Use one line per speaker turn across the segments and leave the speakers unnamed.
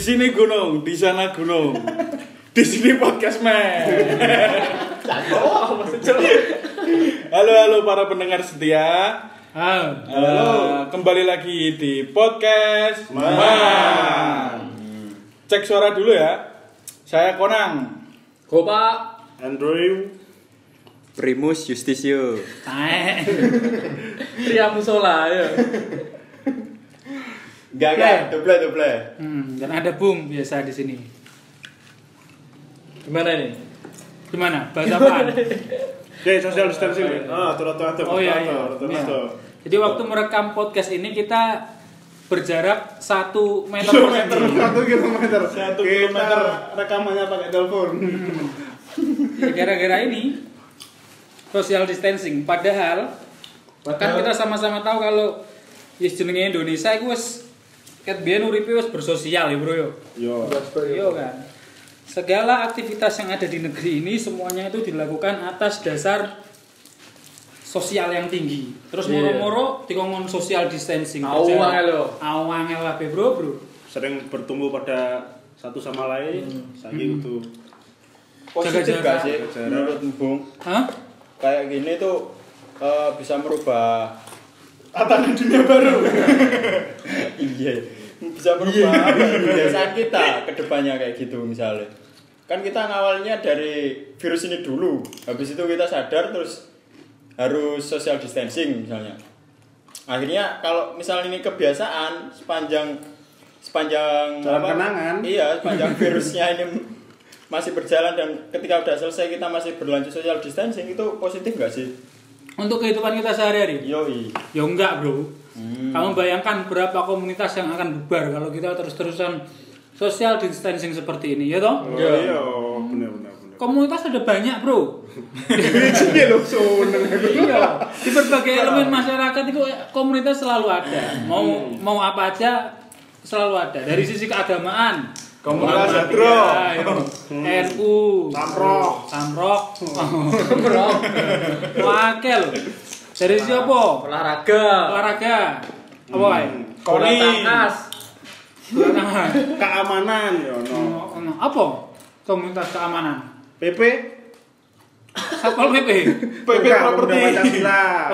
sini gunung, di sana gunung. Di sini podcast man. Halo halo para pendengar setia.
Ah,
Eh, kembali lagi di podcast man. Cek suara dulu ya. Saya Konang.
Kopa.
Andrew
Primus Justitio.
Pria musola ya.
Enggak
kan?
double double.
Hmm, dan ada Bung biasa di sini.
Gimana nih?
Gimana? Bahasa apaan?
Oke, social distancing. Ah, atur atur atur.
Oh iya,
atur,
iya.
atur,
Iya.
atur.
Jadi waktu merekam podcast ini kita berjarak satu meter.
Kilometer, satu kilometer.
Satu
Kita
kilometer.
Rekamannya pakai telepon.
Ya, gara-gara ini social distancing. Padahal bahkan kita sama-sama tahu kalau ya jenenge Indonesia itu wis ket biyen uripe wis bersosial ya, Bro yo.
Yo.
Iya kan. Segala aktivitas yang ada di negeri ini semuanya itu dilakukan atas dasar sosial yang tinggi. Terus
Iya.
moro-moro dikongkon social distancing.
Awang
Berjarak.
lho.
Awang lah be, Bro, Bro.
Sering bertumbuh pada satu sama lain. Saiki kudu
Positif
Jaga
gak
jarak.
sih menurut Bung?
Hah?
Kayak gini tuh eh, bisa merubah
tatanan dunia baru.
iya bisa merubah apa ya, kebiasaan kita ke depannya kayak gitu misalnya. Kan kita ngawalnya dari virus ini dulu. Habis itu kita sadar terus harus social distancing misalnya. Akhirnya kalau misalnya ini kebiasaan sepanjang sepanjang
Dalam kenangan.
Iya, sepanjang virusnya ini masih berjalan dan ketika udah selesai kita masih berlanjut social distancing itu positif nggak sih?
Untuk kehidupan kita sehari-hari?
Yoi.
Ya enggak, Bro.
Hmm.
Kamu bayangkan berapa komunitas yang akan bubar kalau kita terus-terusan social distancing seperti ini, ya toh?
Oh, iya, bener bener bener.
Komunitas ada banyak, Bro.
Ini lho seneng.
iya di berbagai elemen masyarakat itu komunitas selalu ada mau
Hmm.
mau apa aja selalu ada dari sisi keagamaan
Komunitas
Muhammadiyah,
Hadro.
ya, Hmm. NU
Samroh.
Samroh Bro Wakil dari sisi apa?
Olahraga.
olahraga apa ya?
Hmm.
Kori.
Bola Takas.
Keamanan.
Keamanan yo no.
Ono- apa? komunitas keamanan
PP
Satpol PP
PP properti.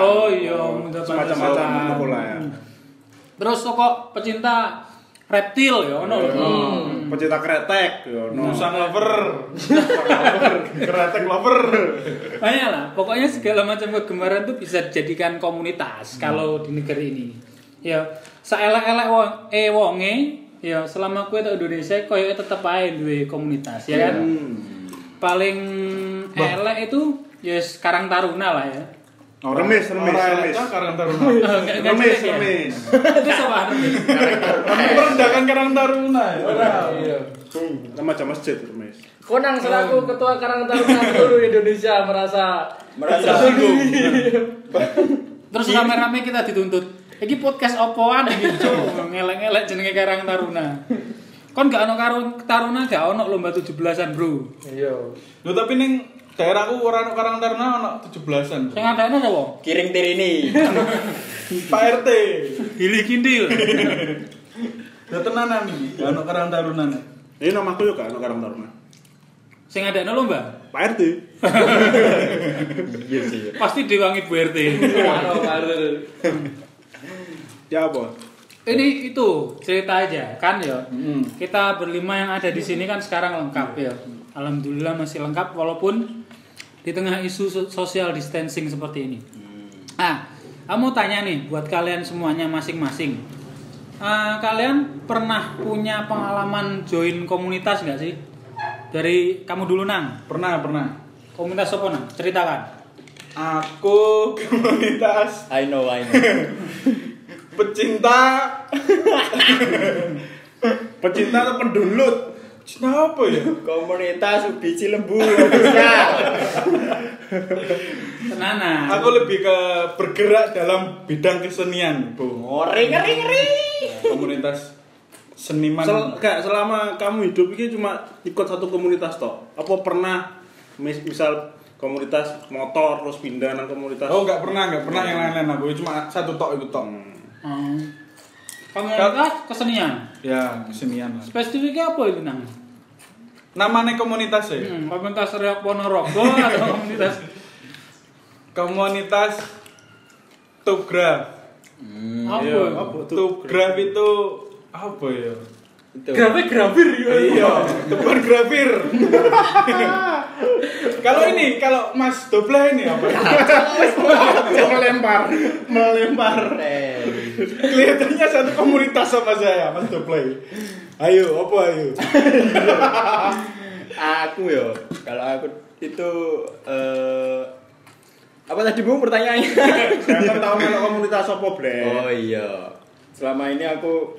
oh iya Muda
Semacam-macam
Pancasila.
ngono lah ya.
terus kok pecinta reptil ya ono lho.
Hmm. Pecinta kretek yo no.
Musang lover.
Kretek lover.
Banyak lah, pokoknya segala macam kegemaran tuh bisa dijadikan komunitas kalau di negeri ini. Ya, saelek-elek wong e wonge, ya selama kue tak Indonesia koyo tetep ae duwe komunitas ya kan. Paling elek itu ya sekarang taruna lah ya.
Remis, remis,
Orang
remis.
Cak Karang Taruna.
Nggak- nggak
Remis,
jelek ya?
remis.
Itu apa? Remis.
Merendahkan Karang Taruna. ya.
Iya.
Remaja masjid, remis.
Konang selaku ketua Karang Taruna seluruh Indonesia merasa
Iya.
Merasa
Iya.
Terus rame-rame kita dituntut. Iki podcast opoan iki, Cuk? Ngelek-ngelek jenenge Karang Taruna. Kon gak ono karun taruna gak ono lomba 17-an, Bro.
iya.
Loh, tapi ning daerahku ora ono Karang Taruna ono 17-an.
Sing ada sapa?
kiring tirini.
Pak RT.
Hili Kindil.
Ya tenanan iki, gak ono Karang nah. Taruna. nih.
Ini nama aku yuk kan, Karang Taruna.
Sing ada lomba.
Pak RT.
Iya sih.
Pasti diwangi Bu RT.
Ano baru.
Ya apa?
Ini itu cerita aja kan ya.
Hmm.
Kita berlima yang ada di sini kan sekarang lengkap ya. Alhamdulillah masih lengkap walaupun di tengah isu so- social distancing seperti ini.
Hmm.
Ah, kamu tanya nih buat kalian semuanya masing-masing. Ah, kalian pernah punya pengalaman join komunitas nggak sih? Dari kamu dulu nang,
Pernah, pernah.
komunitas apa nang? Ceritakan.
Aku komunitas
I know, I know.
pecinta
Pecinta atau pendulut?
Kenapa ya?
Komunitas ubi cilembu. Ya.
Tenanan.
Aku lebih ke bergerak dalam bidang kesenian, Bu.
Ngori ngeri ngeri.
Komunitas seniman.
Sel kayak selama kamu hidup ini cuma ikut satu komunitas toh. Apa pernah mis- misal komunitas motor terus pindah nang komunitas
Hmm. Oh, nggak pernah, nggak pernah yang lain-lain aku. Cuma satu tok itu tok.
Hmm. Komunitas kesenian.
ya kesenian lah
Spesifiknya apa itu nang?
namanya komunitas ya
Hmm, komunitas Reok Ponorogo atau komunitas
komunitas Tubgraf
apa?
Iya,
itu?
Tubgraf itu apa ya
Itu.
Grafik grafir
iya tebar grafir kalau ini kalau Mas Dobla ini apa
melempar melempar
Keren.
kelihatannya satu komunitas sama saya Mas Dobla ini. ayo apa ayo
aku yo kalau aku itu eh apa tadi bu pertanyaannya
Jangan kan tahu kalau komunitas apa, Bre.
Oh iya. Selama ini aku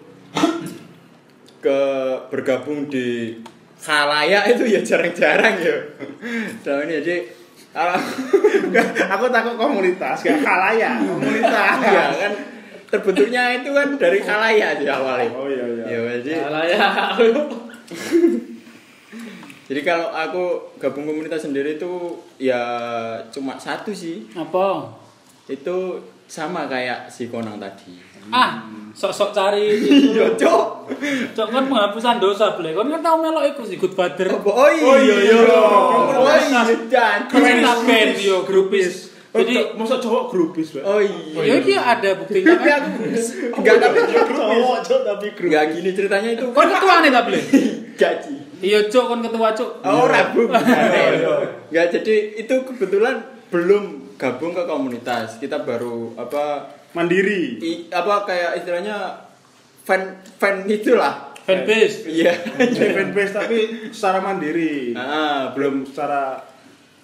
ke bergabung di khalayak itu ya jarang-jarang ya. Selama ini jadi kalau
Aku takut komunitas, gak kalah ya. Komunitas.
ya kan terbentuknya itu kan dari khalayak sih awalnya.
Oh iya iya.
Ya jadi
Salah ya.
jadi kalau aku gabung komunitas sendiri itu ya cuma satu sih.
Apa?
Itu sama kayak si Konang tadi.
Ah, sok-sok cari itu.
Yo, Cok.
Cok kan penghapusan dosa boleh. Kon kan tau melok iku si Good Father.
Oh iya iya. Oh iya.
Kan
dan-
band yo grupis.
Jadi
Jadi
masa Oh, cowok grupis, Bre.
Oh iya.
ya iki ada buktinya
tapi
kan.
aku enggak tapi
Cowok, cowok tapi grupis.
iya, enggak gini ceritanya itu
Kon ketuane ta boleh?
gaji
Iya Cok kon ketua Cok.
ora bu Oh, iya, enggak jadi itu kebetulan belum gabung ke komunitas kita baru apa
Mandiri.
i- apa kayak istilahnya fan fan itulah
Fanbase.
iya
Jadi fanbase tapi secara mandiri.
ah belum
Secara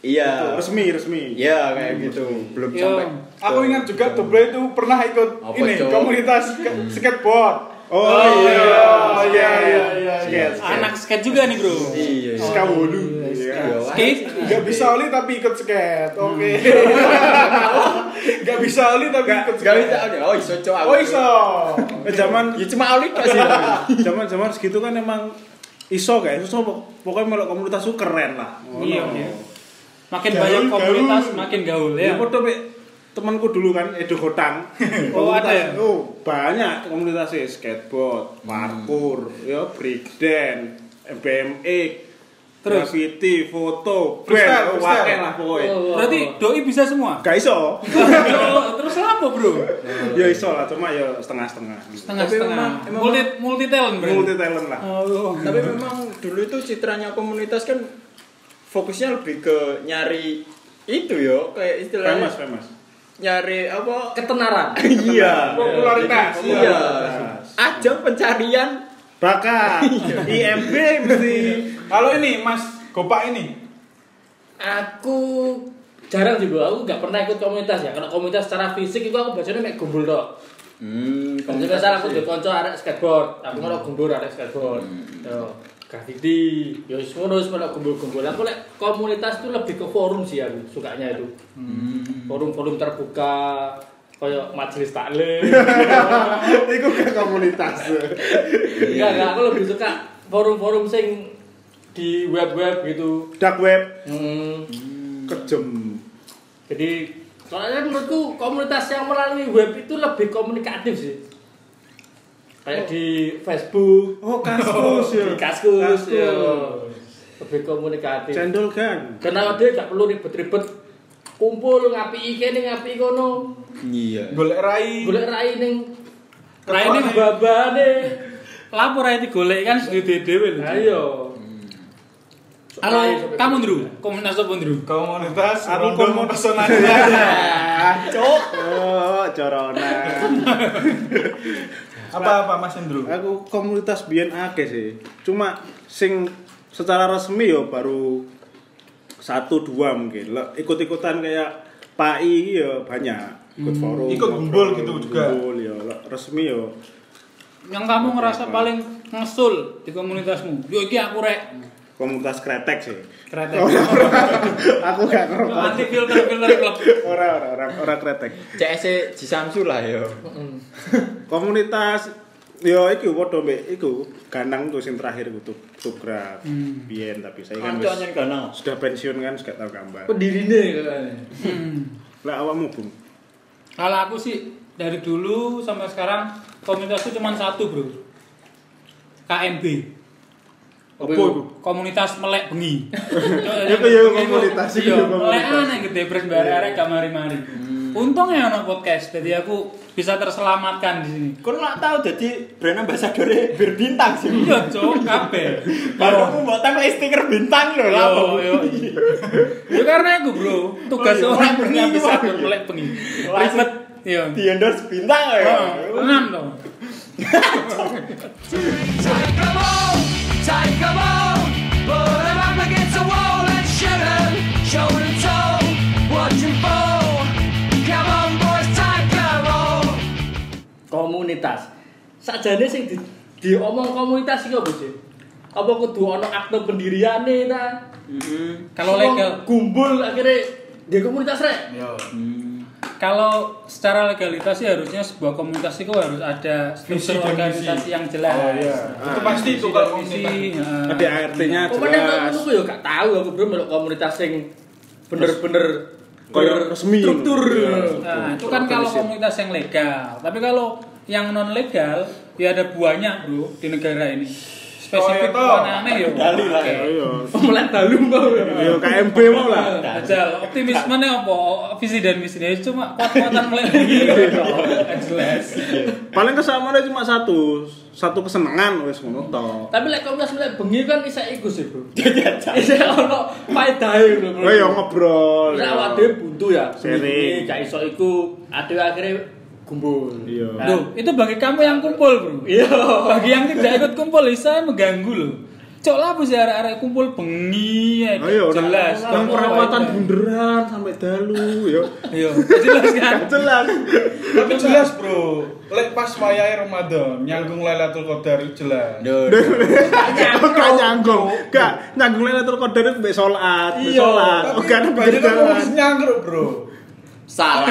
itu,
iya
resmi resmi.
iya kayak gitu belum
Iya.
sampai
aku ingat juga Dobla itu pernah ikut
Apa,
ini
Cok?
komunitas sk- skateboard
Hmm. Oh, iya. iya iya iya. Skate.
Anak skate juga nih, Bro.
iya iya.
Skawolu. Iya.
Iya, wah.
Skate.
Gak bisa oli tapi ikut skate, oke.
Hmm.
Gak bisa oli tapi ikut
Gak
skate.
bisa oh iso cowok
Oh iso.
Eh, zaman Iya,
ya cuma oli tok sih
zaman zaman segitu kan emang iso guys, iso pok- pokoknya melok komunitas itu keren lah.
Iya. iya. Makin
Gaul,
banyak komunitas,
gaul.
makin gaul ya.
Ya,
Iya,
foto temanku dulu kan Edo Kotang.
Oh, ada ya?
Oh, banyak komunitasnya skateboard, parkour, ya break dance, BMX,
Terus?
graffiti, foto,
Freestyle,
band, oh,
freestyle.
wakil lah pokoknya.
Berarti doi bisa semua.
Gak iso.
Iya.
Loh, Terus apa, Bro?
ya iso lah, cuma ya setengah-setengah.
Setengah-setengah.
memang-
Multi multi talent, Bro.
Multi talent lah.
Oh.
tapi memang dulu itu citranya komunitas kan fokusnya lebih ke nyari itu yo kayak istilahnya
Famous, famous.
nyari apa
Ketenaran.
iya
Popularitas.
iya ajang pencarian
Bakat, IMB mesti.
Kalau ini Mas Gopak ini.
Aku jarang juga aku nggak pernah ikut komunitas ya. Kalau komunitas secara fisik itu aku biasanya mek gumbul tok.
hmm
Jadi misal aku di konco arek skateboard, aku kalau gumbul arek skateboard. Yo, graffiti, yo wis ngono wis melok gumbul-gumbul. Aku lek komunitas itu lebih ke forum sih aku sukanya itu. Forum-forum terbuka kayak majelis taklim.
Iku ke komunitas.
Enggak, enggak, aku lebih suka forum-forum sing di web-web gitu.
Dark web
Hmm.
kejem.
Jadi soalnya menurutku komunitas yang melalui web itu lebih komunikatif sih. Kayak di Facebook,
Oh, kaskus Oh. ya.
di Kaskus,
Kaskus.
ya. Lebih komunikatif.
Cendol kan.
Karena dia nggak perlu ribet-ribet kumpul ngapi kene ngapi kono,
iya
Golek rai.
golek rai ning
Rai ning
babane.
Lapor ae digolek kan sendiri dhewe lho.
Ayo.
Halo,
Rai sampai-
kamu Ndru. Komunitas apa Ndru?
Komunitas
Aku
aku
komun-
komunitas
Cok. Oh, corona.
Apa apa Mas Endru?
Aku komunitas biyen akeh sih. Cuma sing secara resmi yo baru satu dua mungkin. Lek Ikut-ikutan kayak PAI iki yo banyak. Ikut forum.
Ikut gumbul gitu juga.
Gumbul yo Lek resmi ya yo.
Yang kamu ngerasa paling ngesul di komunitasmu. Yo iki aku rek.
Komunitas kretek sih.
Kretek.
Aku gak ngerokok.
Anti filter filter klub.
Ora ora ora ora kretek.
CS E Jisamsu lah yo
komunitas yo iku padha mbek iku ganang tuh sing terakhir ku tuh tugraf
Hmm.
biyen tapi saya kan
kancan yang
wis,
ganang
sudah pensiun kan sudah tahu gambar
Pendirine katanya.
Hmm.
lah awakmu bung
Kalau aku sih dari dulu sampai sekarang komunitasku cuma satu bro KMB
Apa itu?
komunitas melek bengi
Iku ya komunitas, iku
iya
ya
melek
komunitas.
aneh gede pres bareng kamari mari untungnya ya ono podcast jadi aku bisa terselamatkan di sini
Kau nggak tahu jadi brand ambassador-nya berbintang sih.
iya cowok kabeh
Baru aku buat tanggal stiker bintang loh lah.
Yo, yo. Yo iya. Ya, karena aku bro, tugas
Oh,
orang
iya. Melek
bengi
bengi,
bisa
Bang.
melek bengi.
Langsung.
Ribet, yo.
Di endorse bintang loh. ya.
Oh, Enam dong.
komunitas. Sajane sing di, diomong komunitas iki apa sih? Apa kudu ana akte pendiriane ta?
Kalau
Semua
legal,
gumbul akhirnya dia komunitas rek.
Ya,
kalau secara legalitas sih harusnya sebuah komunitas itu harus ada
Visi
struktur
dan
organisasi yang jelas.
Itu pasti itu kalau komunitas.
Visi, heeh.
Ada ART-nya
Komunitas kok
jelas.
aku yo ya? gak tahu aku bro melok komunitas sing bener-bener
Kayak resmi.
struktur.
Iya.
Nah, itu kan kalau komunitas yang legal. Tapi kalau yang non legal ya ada buahnya bro di negara ini.
Oh, iya,
Spesifik
toh.
oh, aneh yo.
Dali lah,
Oke.
ya.
Iya.
Melet dalu kok.
Iya KMB mau lah.
Ajal, optimisme nih apa? Visi dan misi dia cuma kuat-kuatan mulai begini Nggak jelas.
Paling kesamaannya cuma satu, satu kesenangan wis ngono tok.
Tapi lek komunitas melek bengi kan isa iku sih bro.
Iya,
Jadi aja.
Isa ono faedahe bro.
Kowe yo ngobrol.
Nek
yo.
awak dhewe buntu ya,
Sering.
seminggu gak iso iku, aduh akhirnya gumbul.
Iya.
Nah,
Loh, itu bagi kamu yang kumpul, Bro.
Iya.
Bagi yang tidak ikut kumpul, ya, saya mengganggu loh. Cok lah bu sih arek-arek kumpul bengi ya,
Ayo, nah,
jelas.
Nang
Kamu
perawatan
apa-apa.
bunderan sampai dalu yo.
Iya, jelas kan.
Jelas.
Tapi jelas bro, lek pas wayahe Ramadan nyanggung Lailatul Qadar itu jelas.
Gak nyanggung. Gak nyanggung Lailatul Qadar itu mbek salat, mbek
Iya,
salat.
Tapi
Oke, ada
banyak kan
jalan.
harus nyangkruk bro.
Salah.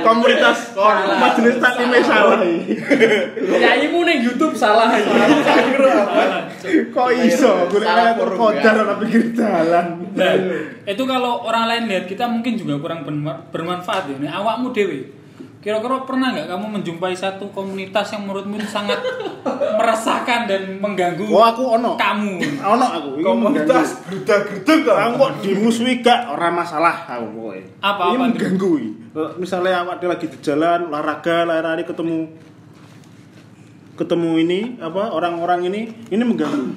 Komunitas
Salah.
majelis taklim salah. Iya.
Nyanyimu ning YouTube salah.
Kok iso golek
Salah
Lailatul
forum,
Qadar
ya.
ora pikir dalan.
Nah, itu kalau orang lain lihat kita mungkin juga kurang berma- bermanfaat ya. Nih, awakmu dewe. Kira-kira pernah nggak kamu menjumpai satu komunitas yang menurutmu sangat meresahkan dan mengganggu
Oh, aku ono.
kamu?
Ono aku. Ini
Komunitas geruduk-geruduk
mengganggu. Aku
kok.
kok dimusuhi gak ora masalah aku pokoknya.
Apa-
Ini
apa itu?
mengganggu. ini. Eh, Misalnya awak dia lagi di jalan, olahraga, lari-lari ketemu ketemu ini apa orang-orang ini ini mengganggu.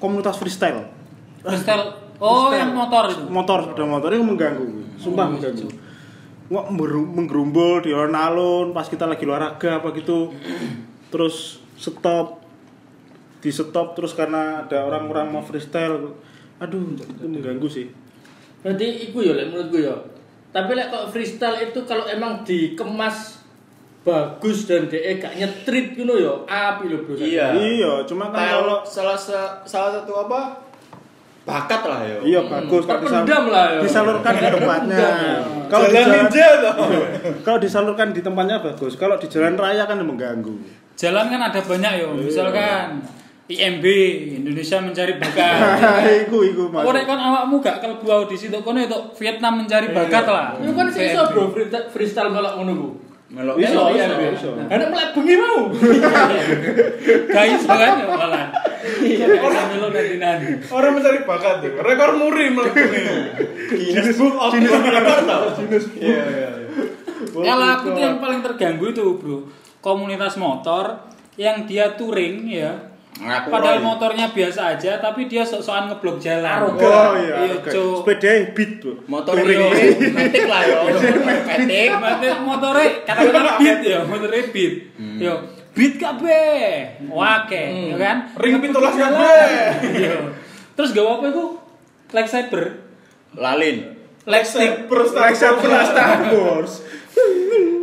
Komunitas freestyle.
Freestyle. Oh,
Freestyle.
yang motor itu.
Motor, sepeda motor ini mengganggu. Sumpah mengganggu. Ngok meru- menggerumbul di alun-alun pas kita lagi olahraga apa gitu. Terus stop di stop terus karena ada orang-orang mau freestyle aduh itu mengganggu sih
Berarti iku ya lek menurutku ya. Tapi lek kok freestyle itu kalau emang dikemas bagus dan DE gak nyetrit ngono ya, api lho bro.
Iya.
iya cuma kan kalau
Kalau salah sa- salah satu apa bakat lah yo.
iya bagus kalau disal-
Terpendam lah ya.
disalurkan di tempatnya
Terpendam.
kalau di
Jalan
jalan-
ninja toh.
kalau disalurkan di tempatnya bagus kalau di jalan raya kan mengganggu
Jalan kan ada banyak yo, misalkan IMB Indonesia mencari bakat.
Iya. iku iku mas
Kau kan awakmu gak kelebu audisi itu kono itu Vietnam mencari bakat lah.
Iku kan sih iso bro freestyle- freestyle melok ngono ku.
Melok
Bisa,
Melok,
bisa,
iya,
bisa.
Nah, Enak melek bengi mau.
Guys banget ya malah. Iya, lo nanti nanti.
Orang mencari bakat tuh. Rekor muri mlebu ini.
Guinness Book of Record tau. Iya iya. iya.
Kalau aku tuh yang paling terganggu itu bro, komunitas motor yang dia touring ya.
Ngaku
Padahal
roy.
motornya biasa aja, tapi dia sok-sokan ngeblok jalan.
oh iya
Iya,
oke
Cuk.
sepeda beat bu
motor yo. Metik lah yo.
Metik, metik motore katakanlah beat ya, motore beat. Yo, beat kabeh. Wake, ya kan?
Ring pitulas
Jalan.
kabeh.
Yo. Terus gak apa itu leg cyber,
Lalin.
leg stick.
Alexa Plus Star Wars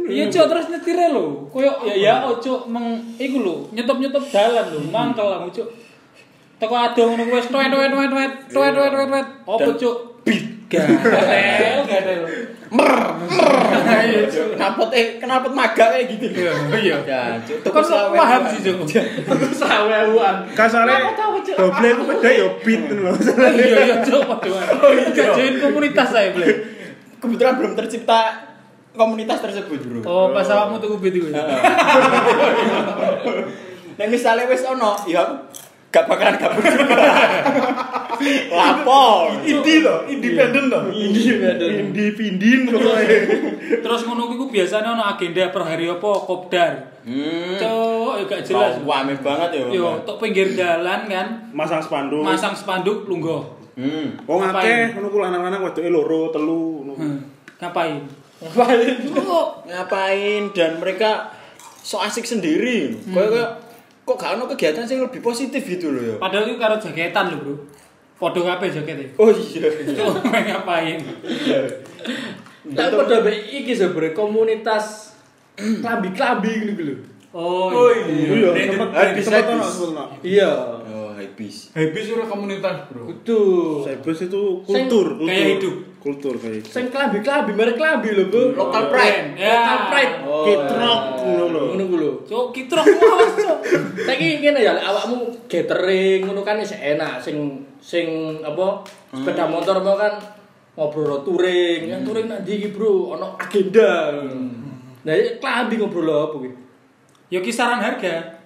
Iya, Cok, terus nyetirnya lho. Koyo ya ya ojo meng iku lho, nyetop-nyetop dalan lho, mangkel aku, Cok. Teko adoh ngono kuwi wis tuet tuet tuet tuet tuet tuet tuet tuet. Opo, Cuk? Beat. Gak ada, gak ada lho.
Ayo, Cuk. Kenapa eh kenapa magak kayak gitu?
Iya, iya.
Ya, Cuk.
Kok
selawe.
paham sih, Oh, Cuk?
Sawewuan.
kasarnya
Aku tahu, Cuk.
doble sepeda yo beat lho
iya iya coba doang. Gak join komunitas saya boleh.
Kebetulan belum tercipta komunitas tersebut bro
Oh, pas awakmu tuku bit iku. ya?
Nah misalnya wis ono, ya aku gak bakalan gabut juga. Lapor.
Indi loh, independen loh. Indi pindin loh.
Terus ngono iku biasanya ono agenda per hari apa kopdar.
Hmm.
Cok, ya gak jelas.
Wah, Wame banget ya.
Yo, tok pinggir jalan kan,
Masang spanduk.
masang spanduk lungguh.
Hmm.
Wong
Ngapain?
akeh ngono kuwi lanang-lanang wedoke loro, telu ngono.
Hmm, Ngapain?
Ngapain dan mereka so asik sendiri. Kayak kayak kok gak ono kegiatan sing lebih positif gitu loh ya.
Padahal itu karo jaketan lho, Bro. Podho kabeh jakete.
Oh iya.
Cuk, ngapain?
Tapi pada iki sebenarnya komunitas klambi-klambi gitu lho.
Oh,
Iya, sempet
habis,
sempet ono
habis.
sempet ono.
Iya.
Oh, habis.
Habis ora komunitas, Bro.
Kudu.
Sebes itu
Sing-
kultur, kultur.
kayak hidup.
Kultur kayak hidup.
Sing klambi-klambi, merek klambi lho, Bu.
Local pride.
Ya.
Local pride.
Oh,
iya,
Kitrok ngono lho.
Ngono ku lho.
Cuk, kitrok wae, Cuk.
Saiki ngene ya, lek awakmu gathering ngono kan isih enak sing sing apa sepeda
Hmm.
motor mau kan ngobrol ro touring, yang touring nang ndi iki, Bro? Ono agenda.
Hmm.
Nah, iki klambi ngobrol lho apa iki?
Ya kisaran harga.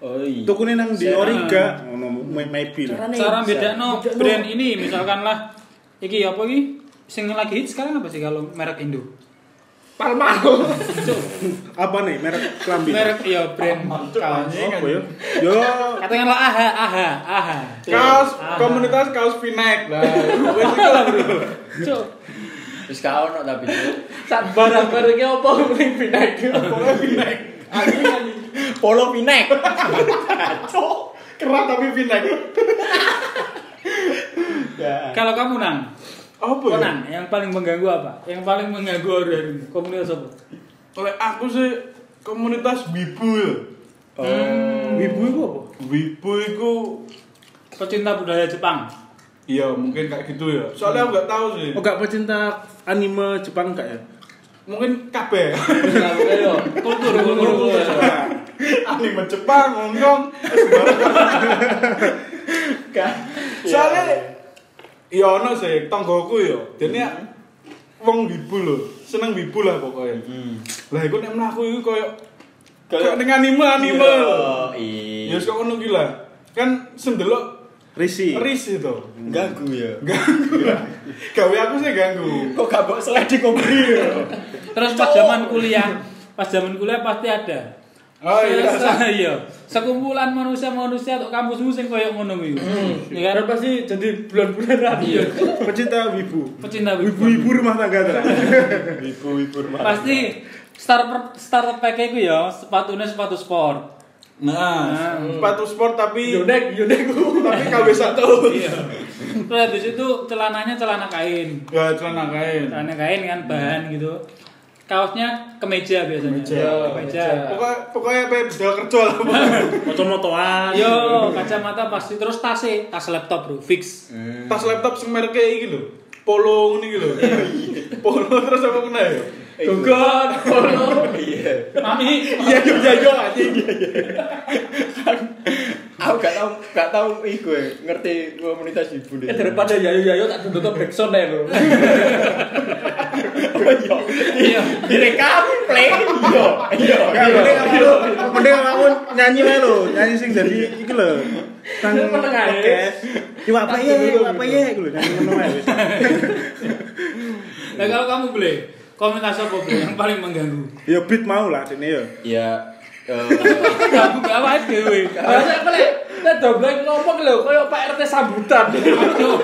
Oh iya.
Tukune nang di
Sing-
Iya.
Origa ngono may- maybe lah.
Carane
Cara
bisa.
bedakno
Bedakno.
brand ini misalkanlah iki apa iki? Sing lagi hits sekarang apa sih kalau merek Indo?
Palmaro.
Apa nih merek klambi?
Merek ya brand kaos.
apa ya? Yo
Katakanlah aha, aha, aha.
Kaos komunitas kaos Pinek lah. Wes iku lah, Bro.
Cuk,
Wis gak ono tapi. Cuk.
sak barang-barang iki apa ning pindah iki?
Polo Pinek.
Aku nyanyi.
Polo pinek.
Cok, kerah tapi Pinek.
Kalau kamu nang,
Apa ya?
Konan, yang paling mengganggu apa? Yang paling mengganggu hari-hari ini? komunitas apa?
Oleh aku sih komunitas wibu ya.
Wibu iku apa?
Wibu iku
Pecinta budaya Jepang.
Iya mungkin kayak gitu ya. Soalnya aku nggak tahu sih.
oh gak pecinta anime Jepang gak ya?
Mungkin kabeh.
Ayo.
Kultur, kultur, kultur.
Anime Jepang, Hong Kong, sembarang. Soalnya ya ono sih tanggoku ya. Dene wong wibu lho, seneng wibu lah pokoknya. Lah iku nek mlaku iku koyo kayak
Kayak-
ning anime anime.
Oh,
Ya
iya.
wis kok ngono ki lah. Kan sendelok
Risi.
ris itu.
Ganggu ya.
Gawe aku sih ganggu.
Kok gak mbok sledi kopi ya?
Terus pas zaman kuliah, pas zaman kuliah pasti ada.
Oh iya.
Se- iya. Sekumpulan manusia-manusia untuk kampusmu sing koyo ngono kuwi. Ya
Karena
kan?
pasti jadi bulan-bulan rapi.
Iya.
Pecinta wibu.
Pecinta
Wibu-wibu
budaya.
rumah tangga terang.
Ibu-ibu rumah.
Pasti starter starter pack iku ya, sepatunya sepatu sport.
Nah, sepatu sport tapi
Yonek, yonek ku.
tapi KW satu. Iya.
Terus habis itu celananya celana kain.
Ya celana kain.
Celana kain kan bahan gitu. Kaosnya kemeja biasanya.
Kemeja.
Yo, kemeja.
Pokoknya pokoknya apa ya, bedal kerja lah.
Moto-motoan.
Yo, kacamata pasti terus tas tas laptop bro, fix.
Tas laptop sing merke iki lho. Polo ngene iki lho. Polo terus apa kena ya?
Gogon, polo.
Iya.
Mami,
Iya yo iya yo anjing.
Aku gak tau gak tau iku ya, ngerti komunitas ibu deh.
Eh, daripada yayo-yayo tak duduk ke backsound aja bro.
Oh, Iya.
iya.
Direkam play. Iya. Iya.
Gak, mending aku- mending aku nyanyi wae lho, nyanyi sing dari iki lho. Nang
Ini menengah, ya?
podcast. Iwa apa ye, iwa apa ye iku lho nyanyi ngono wae wis.
Nah kalau kamu boleh komunitas apa Ble, yang paling mengganggu?
Ya beat mau lah dene ya.
Ya eh,
Ganggu gak apa dewe.
Masa apa lek? Kita dobleng ngomong lho, kayak Pak RT sambutan.
Aduh,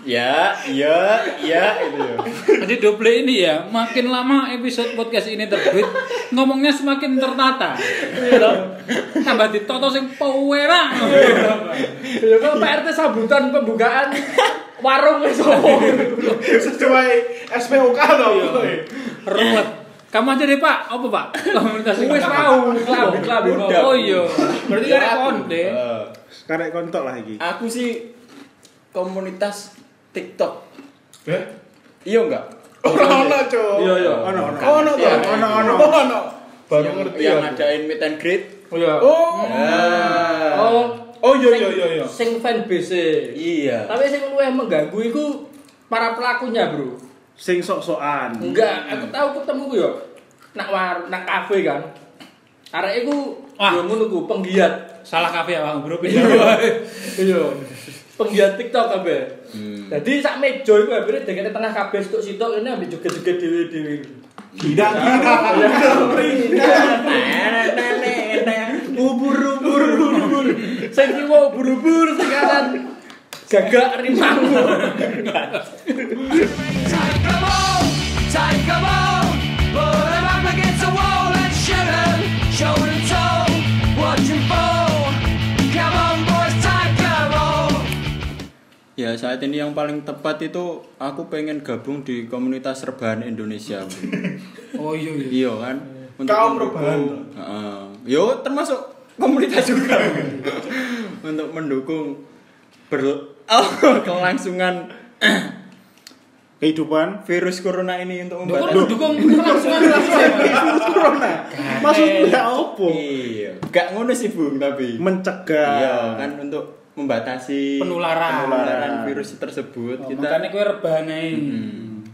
ya, ya, ya itu ya.
jadi double ini ya, makin lama episode podcast ini terbit, ngomongnya semakin tertata. Iya toh? Tambah ditoto sing powera.
Ya kok Pak RT sambutan pembukaan warung wis opo.
Sesuai SPOK tau kowe.
Ruwet. Kamu aja deh Pak, apa Pak? Komunitas ini.
Wis mau klambi klambi mau.
Oh iya. Berarti
Ya,
kan
aku.
konde.
Eh,
Karek kontok lah iki.
Aku sih komunitas TikTok.
Heh.
Iya enggak?
Ora ono, Cuk.
Iya iya.
Ono ono.
Ono to.
Iya.
Ono ono. Ono. Baru ngerti ya.
yang
aku.
ngadain meet and greet.
Oh iya.
Oh.
Ah.
Oh.
Oh iya iya iya iya.
Sing fan base.
Iya.
Tapi sing luwih mengganggu iku para pelakunya, Bro.
sing sok-sokan.
Enggak, aku tahu ketemu ku yo. Nak war, nak kafe kan. Arek iku
Wah.
yo ngono ku penggiat.
Salah kafe ya, Bang Bro.
Iya. Iya. Penggiat TikTok kabeh. Jadi sak meja iku hampir deketnya tengah kabeh sitok sitok ini ambil joget-joget Iya. dhewe-dhewe.
Tidak, tidak.
Ubur-ubur. Sing kiwa ubur-ubur sing kanan kan. gagak rimangu.
Ya saat ini yang paling tepat itu aku pengen gabung di komunitas rebahan Indonesia. Bu.
Oh iya iya.
iya kan?
Kaum
mendukung-
rebahan.
Heeh. yo termasuk komunitas juga. untuk mendukung ber- oh, kelangsungan
Kehidupan
virus corona ini untuk
Duh, kok
membatasi.
dukung kelangsungan
corona. Maksudnya ya opo?
Iya. Gak ngono sih, Bung, tapi.
Mencegah.
Iya, kan untuk membatasi
Penularan. Oh,
penularan virus tersebut kita
Makanya kowe rebahan ae.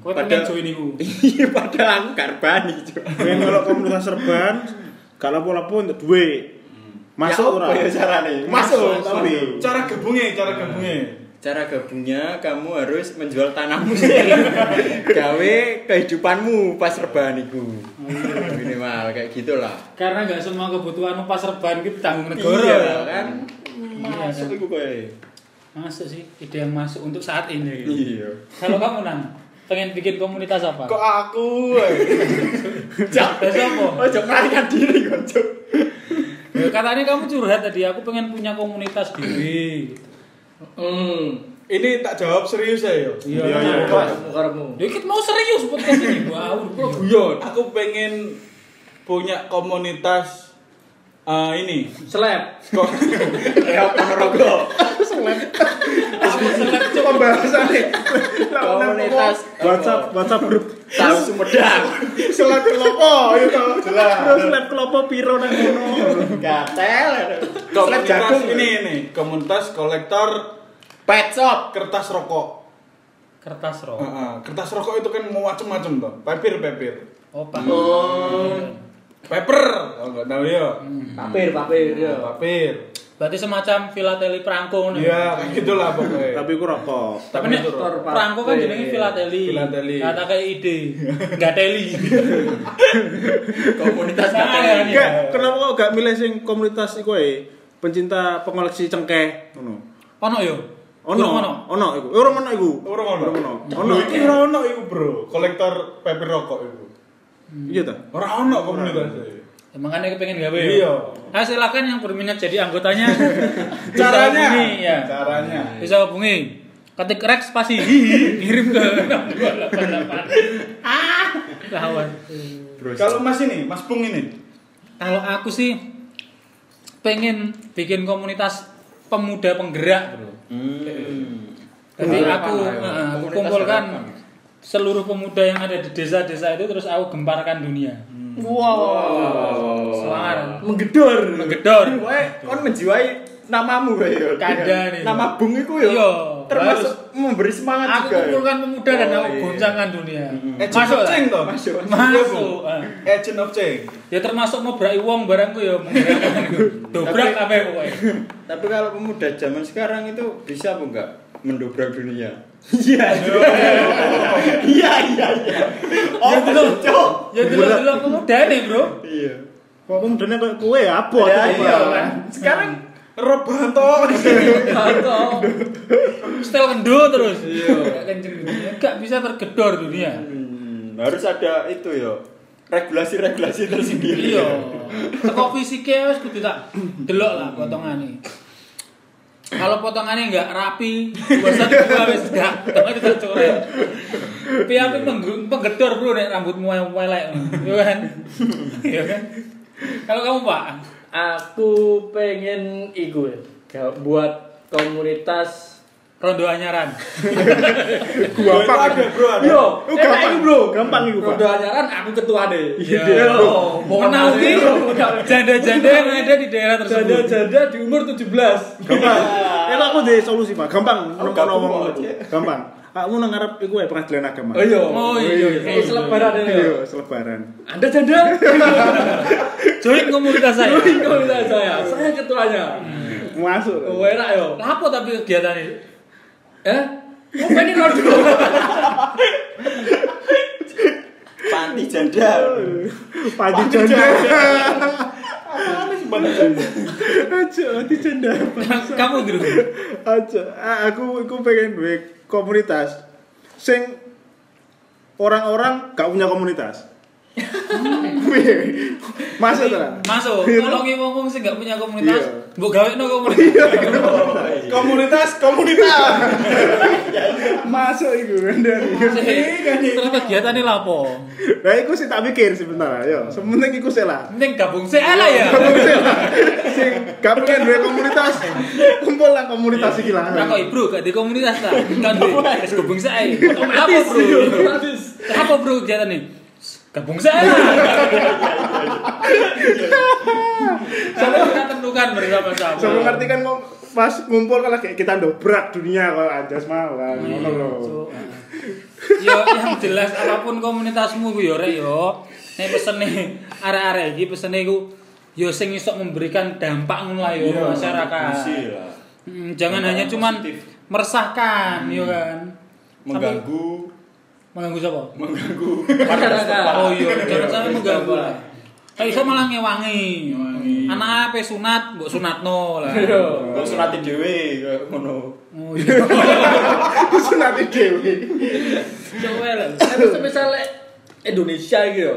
Kowe pengen
Padahal-
join iku.
Iya, padahal aku karbani, Cuk.
Pengen kalau komunitas serban, kalau lapo-lapo untuk duit. Masuk ora?
Apa ya carane?
Masuk tapi
Cara gabungnya, cara gabungnya.
Cara gabungnya kamu harus menjual tanahmu sih. Gawe kehidupanmu pas rebahan iku. Minimal kayak gitulah.
Karena nggak semua kebutuhanmu pas rebahan kita tanggung negara.
Iya kan?
Iya, kan?
Masuk iku kowe.
Masuk sih ide yang masuk untuk saat ini.
Iya.
Kalau kamu nang pengen bikin komunitas apa?
Kok aku? eh?
Terus apa?
Ojo melarikan diri kok, Cuk.
Ya, katanya kamu curhat tadi, aku pengen punya komunitas diri.
Hmm.
Ini tak jawab serius ya. yo.
Iya,
Iya, iya,
Pas karepmu.
Ya kita mau serius podcast ini. Wah, bro,
Guyon. Iya, Aku pengen punya komunitas eh, ini.
Slap.
Kok
Ya ponorogo.
pembahasan nih.
Komunitas
WhatsApp WhatsApp grup
tas Sumedang.
seleb kelopo ya toh. Terus seleb kelopo piro nang ngono.
Gatel. Slap
komunitas
jagung
ini ini komunitas kolektor
Pet shop.
kertas rokok.
kertas roh.
Heeh, kertas rokok itu kan mau macem-macem toh. Paper, paper.
Oh,
Oh.
Paper. Oh, enggak tahu ya.
Papir, papir ya.
Paper.
Berarti semacam filateli perangko nih.
Iya, kayak gitulah pokoknya.
Tapi ku rokok.
Tapi nek
Betul.
perangko kan jenenge filateli.
Filateli.
Kata kayak ide. Enggak teli.
Komunitas
Nah,
gatel.
iya.
Enggak, kenapa kok gak milih sing komunitas iku ae? Pencinta pengoleksi cengkeh ngono.
Ono yo.
Ono,
Kurang
ono, ono iku. Eh, Ora ono iku.
Orang ono.
Ora ono. Ono.
Ono iki ora ono iku, Bro. Kolektor paper rokok iku.
Iya ta?
Ora ono komunitasnya.
Ya, makanya kepengen gawe. ya?
Iya.
Nah, silakan yang berminat jadi anggotanya. Bisa
Caranya.
hubungi, ya.
Caranya.
Bisa hubungi. Ketik Rex pasti hihi, kirim ke 6288. Ah, lawan.
Kalau Mas ini, Mas Bung ini.
Kalau aku sih pengen bikin komunitas pemuda penggerak, Bro. Jadi
Harapan,
aku
harapan.
eh, aku
Komunitas
kumpulkan
harapan.
seluruh pemuda yang ada di desa-desa itu terus aku gemparkan dunia.
Wow.
Semangat.
Menggedor.
Menggedor.
Kowe kon menjiwai namamu kowe ya.
Kandani.
Nama Bung iku ya.
Iya.
Termasuk memberi semangat
Aku
juga. ya.
kumpulkan pemuda dan
Oh,
aku
iya.
goncangkan dunia.
Agent
Masuk
Eh, of
lah.
Change toh. Iya,
Masuk.
Masuk. eh.
Agent of Change.
Ya termasuk ngobrak wong barangku ya menggerakkan. Dobrak
Tapi-
kabeh pokoknya.
Tapi kalau pemuda zaman sekarang itu bisa apa enggak mendobrak dunia? Iya. Iya, iya, iya. Oh,
Ya Oh, belum. Ya delok-delok pemuda nih, Bro.
Iya.
Kok kemudian kayak kowe ya apa?
Ya,
coba?
iya kan. Sekarang
Rebahan toh.
Atau setel kendor terus. Nggak kenceng dunia. Nggak bisa tergedor dunia.
hmm, harus ada itu ya. Regulasi-regulasi tersendiri.
Iya. Teko fisiknya wis kudu tak delok lah potongane. Kalau potongannya nggak rapi, bosan gua wis gak, tapi tak coret. Tapi api
Iya.
pengge- penggedor bro nek rambutmu yang welek, ya kan? Iya kan? Kalau kamu pak,
Aku pengen iku ya, ga- buat komunitas
rondo anyaran.
Gua apa ada, Bro? Ada.
Yo,
Oh,
enak
gampang
iku bro.
Gampang iku, Pak.
Rondo anyaran aku ketua deh.
Iya.
Oh,
Mau
Menaungi janda-janda yang ada di daerah tersebut.
Janda-janda di umur 17.
Gampang. Eh aku deh solusi Pak. Gampang
Aku
nongkrong
gabung
ngomong
kok, Cek.
Gampang. Aku nang ngarep iku ya pengadilan agama.
Oh iya.
Oh iya.
Kayak selebaran ini. ya.
Iya, selebaran.
Anda janda?
Join komunitas saya.
Join komunitas saya. Saya ketuanya.
Masuk.
Oh, enak yo.
Apa tapi kegiatan ini?
Eh? Mau pengen dulu?
Panti janda.
Panti janda. Aja, panti janda.
Kamu gitu.
Aja, Ah, aku aku pengen duwe komunitas sing orang-orang gak punya komunitas. Wih. Masuk ta?
Masuk. Kalau ki ngomong sih nggak punya komunitas,
Iya.
mbok gawe no komunitas.
Komunitas, komunitas.
Masuk iku kan iya.
Terus kegiatannya lapo?
Nah, iku sih tak pikir sebentar, yo. Sementing iku sih lah.
Penting gabung sih ala ya.
gitu Sing gak pengen duwe komunitas. Kumpul lah komunitas iki lah.
Nah kok bro, gak di komunitas lah. Kan bro, es gabung saya. Apa bro? Apa bro kegiatan nih? Gabung saya. Sama kita tentukan bersama-sama.
Sama ngerti kan mau pas ngumpul kan lagi kita dobrak dunia kalau anjas mau kan ngono lho.
So, eh. Yo yang jelas apapun komunitasmu ku yo rek yo. Nek pesene arek-arek iki pesene ku yo sing iso memberikan dampak ngono lah yo
Iya, Mesti
masyarakat.
lah.
Hmm, jangan
Dampak
hanya
yang
cuman
ya. positif. Hmm.
meresahkan yo kan. Tapi-
Mengganggu,
mengganggu siapa?
mengganggu.
Oh iya, jangan sampai mengganggu lah. Kayak iso malah ngewangi. Anak ape sunat, mbok sunatno lah.
Wong surati dhewe koyo ngono.
Oh iya.
Terus nanti dewe.
Coba lah. Tapi misalnya Indonesia gitu yo.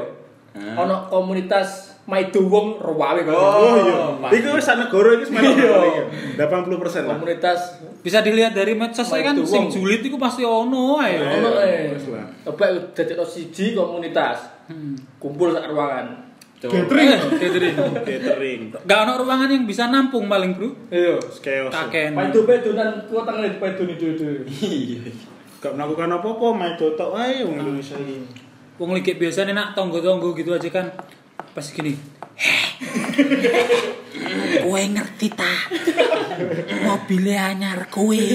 Hmm.
Ono komunitas Maidu Wong Rawawi kok.
Oh, iya.
Pak.
Iku wis sak negara iki semen
Iya.
80% lah.
komunitas
Bisa dilihat dari medsos saya kan
Waduh,
sing
wong.
julid iku pasti ono ae.
Iya.
ono eh.
wis lah.
Coba dadi siji komunitas.
Hmm.
Kumpul sak ruangan.
Catering, catering.
Catering.
Gak ono ruangan yang bisa nampung paling, Bro.
Iya.
Chaos.
Taken.
Paidu paidu dan kuota ngelit paidu nih dulu dulu.
Gak melakukan apa-apa, main dotok ae wong Indonesia iki.
Wong lagi biasanya nak tonggo-tonggo gitu aja kan. Pas gini. Kowe ngerti ta? Mobilnya anyar kowe.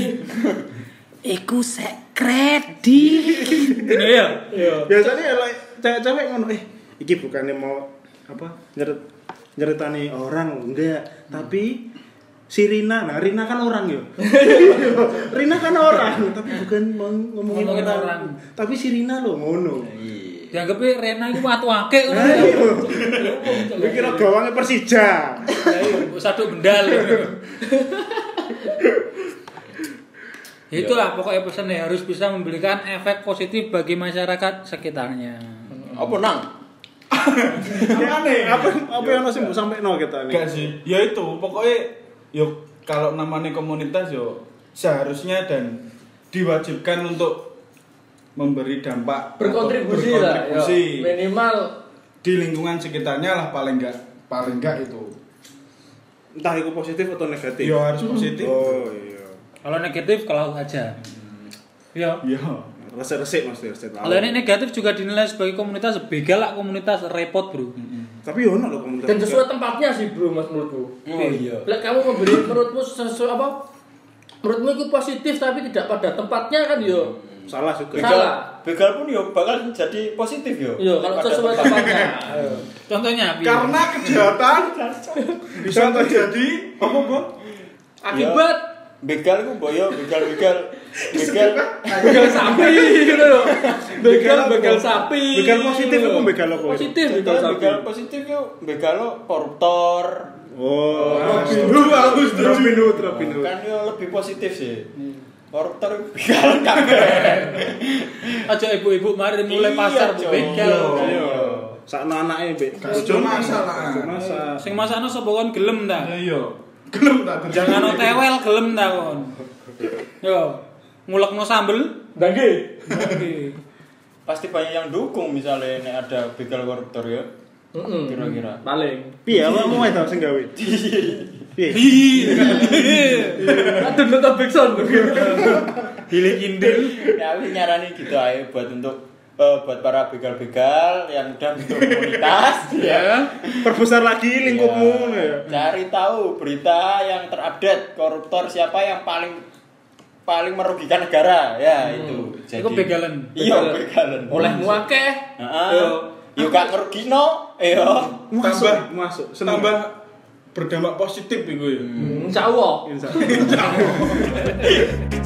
Iku sek kredit. Ini ya.
Iya.
Biasanya ya like, cewek-cewek ngono eh iki bukannya mau apa nyeret nyeritani orang enggak, tapi si Rina, nah Rina kan orang yo. Rina kan orang, tapi bukan mau ngomongin,
Ngomongin
orang.
orang.
Tapi si Rina lo ngono.
Dianggapnya Rena itu watu ake.
Ayo. Gue kira gawangnya Persija.
Satu bendal. Itulah pokoknya pesannya harus bisa memberikan efek positif bagi masyarakat sekitarnya.
Apa nang?
Aneh.
Apa apa yang masih mau sampai no kita
Enggak
nih?
sih. Ya itu, pokoknya yo kalau namanya komunitas yo seharusnya dan diwajibkan untuk memberi dampak
Berkontribusi
atau
lah. ya. yo.
berkontribusi
Minimal
di lingkungan sekitarnya lah paling enggak paling enggak itu.
Entah itu positif atau negatif.
Yo harus positif.
Oh iya.
Kalau negatif kalau aja. Ya.
Yo.
Resik-resik mas resik.
Kalau ini negatif juga dinilai sebagai komunitas begalak komunitas repot bro.
Tapi yo ono lho komunitas.
dan sesuai tempatnya sih bro mas menurutku.
Oh iya.
Lek kamu memberi menurutmu sesuai apa? Menurutmu itu positif tapi tidak pada tempatnya kan yo.
salah juga.
Salah.
Begal, begal pun yo bakal jadi positif yo.
Yo kalau
Pada
sesuai
tempat.
tempatnya. Ayo.
Contohnya Bi.
Karena kejahatan bisa terjadi apa, Bu?
Akibat
Ya, Begal ku boyo begal begal. Begal.
begal sapi gitu loh. Begal begal sapi.
Begal positif apa begal apa?
Positif begal
Contohnya
sapi.
begal positif yo. Begal lo koruptor.
Oh,
Dulu aku setuju.
Robin Hood, Robin Hood.
Kan yo lebih positif sih.
Hmm.
Koruptor itu begal kabeh.
Aja ibu-ibu mari mulai
Iya,
pasar Bu
Cok.
begal.
Iya.
Sakno anaknya, Mbak.
Bojo masalah.
Masa.
Sing masakno sapa kon gelem ta?
Nah, iya.
Ayo. Gelem tak ya, terjadi.
Jangan otewel gelem ta kon. Yo, ngulekno sambel.
Dange.
Oke.
Pasti banyak yang dukung misalnya nek ada begal koruptor ya. Kira-kira.
Paling.
Piye awakmu wae tau sing gawe? Piye?
Aduh nonton Big Sound.
Hile kindil.
Ya, aku nyarani gitu aja buat untuk eh, buat para begal-begal yang udah bentuk komunitas ya.
Perbesar lagi lingkupmu ya.
Cari tahu berita yang terupdate koruptor siapa yang paling paling merugikan negara ya itu
Hmm. Iku begalan.
iya begalan
oleh muake
Heeh. yo gak ngerugino yo
Tambah
masuk seneng
Tambah
Hmm,
berdampak positif iku ya.
insya Allah
Insya Allah.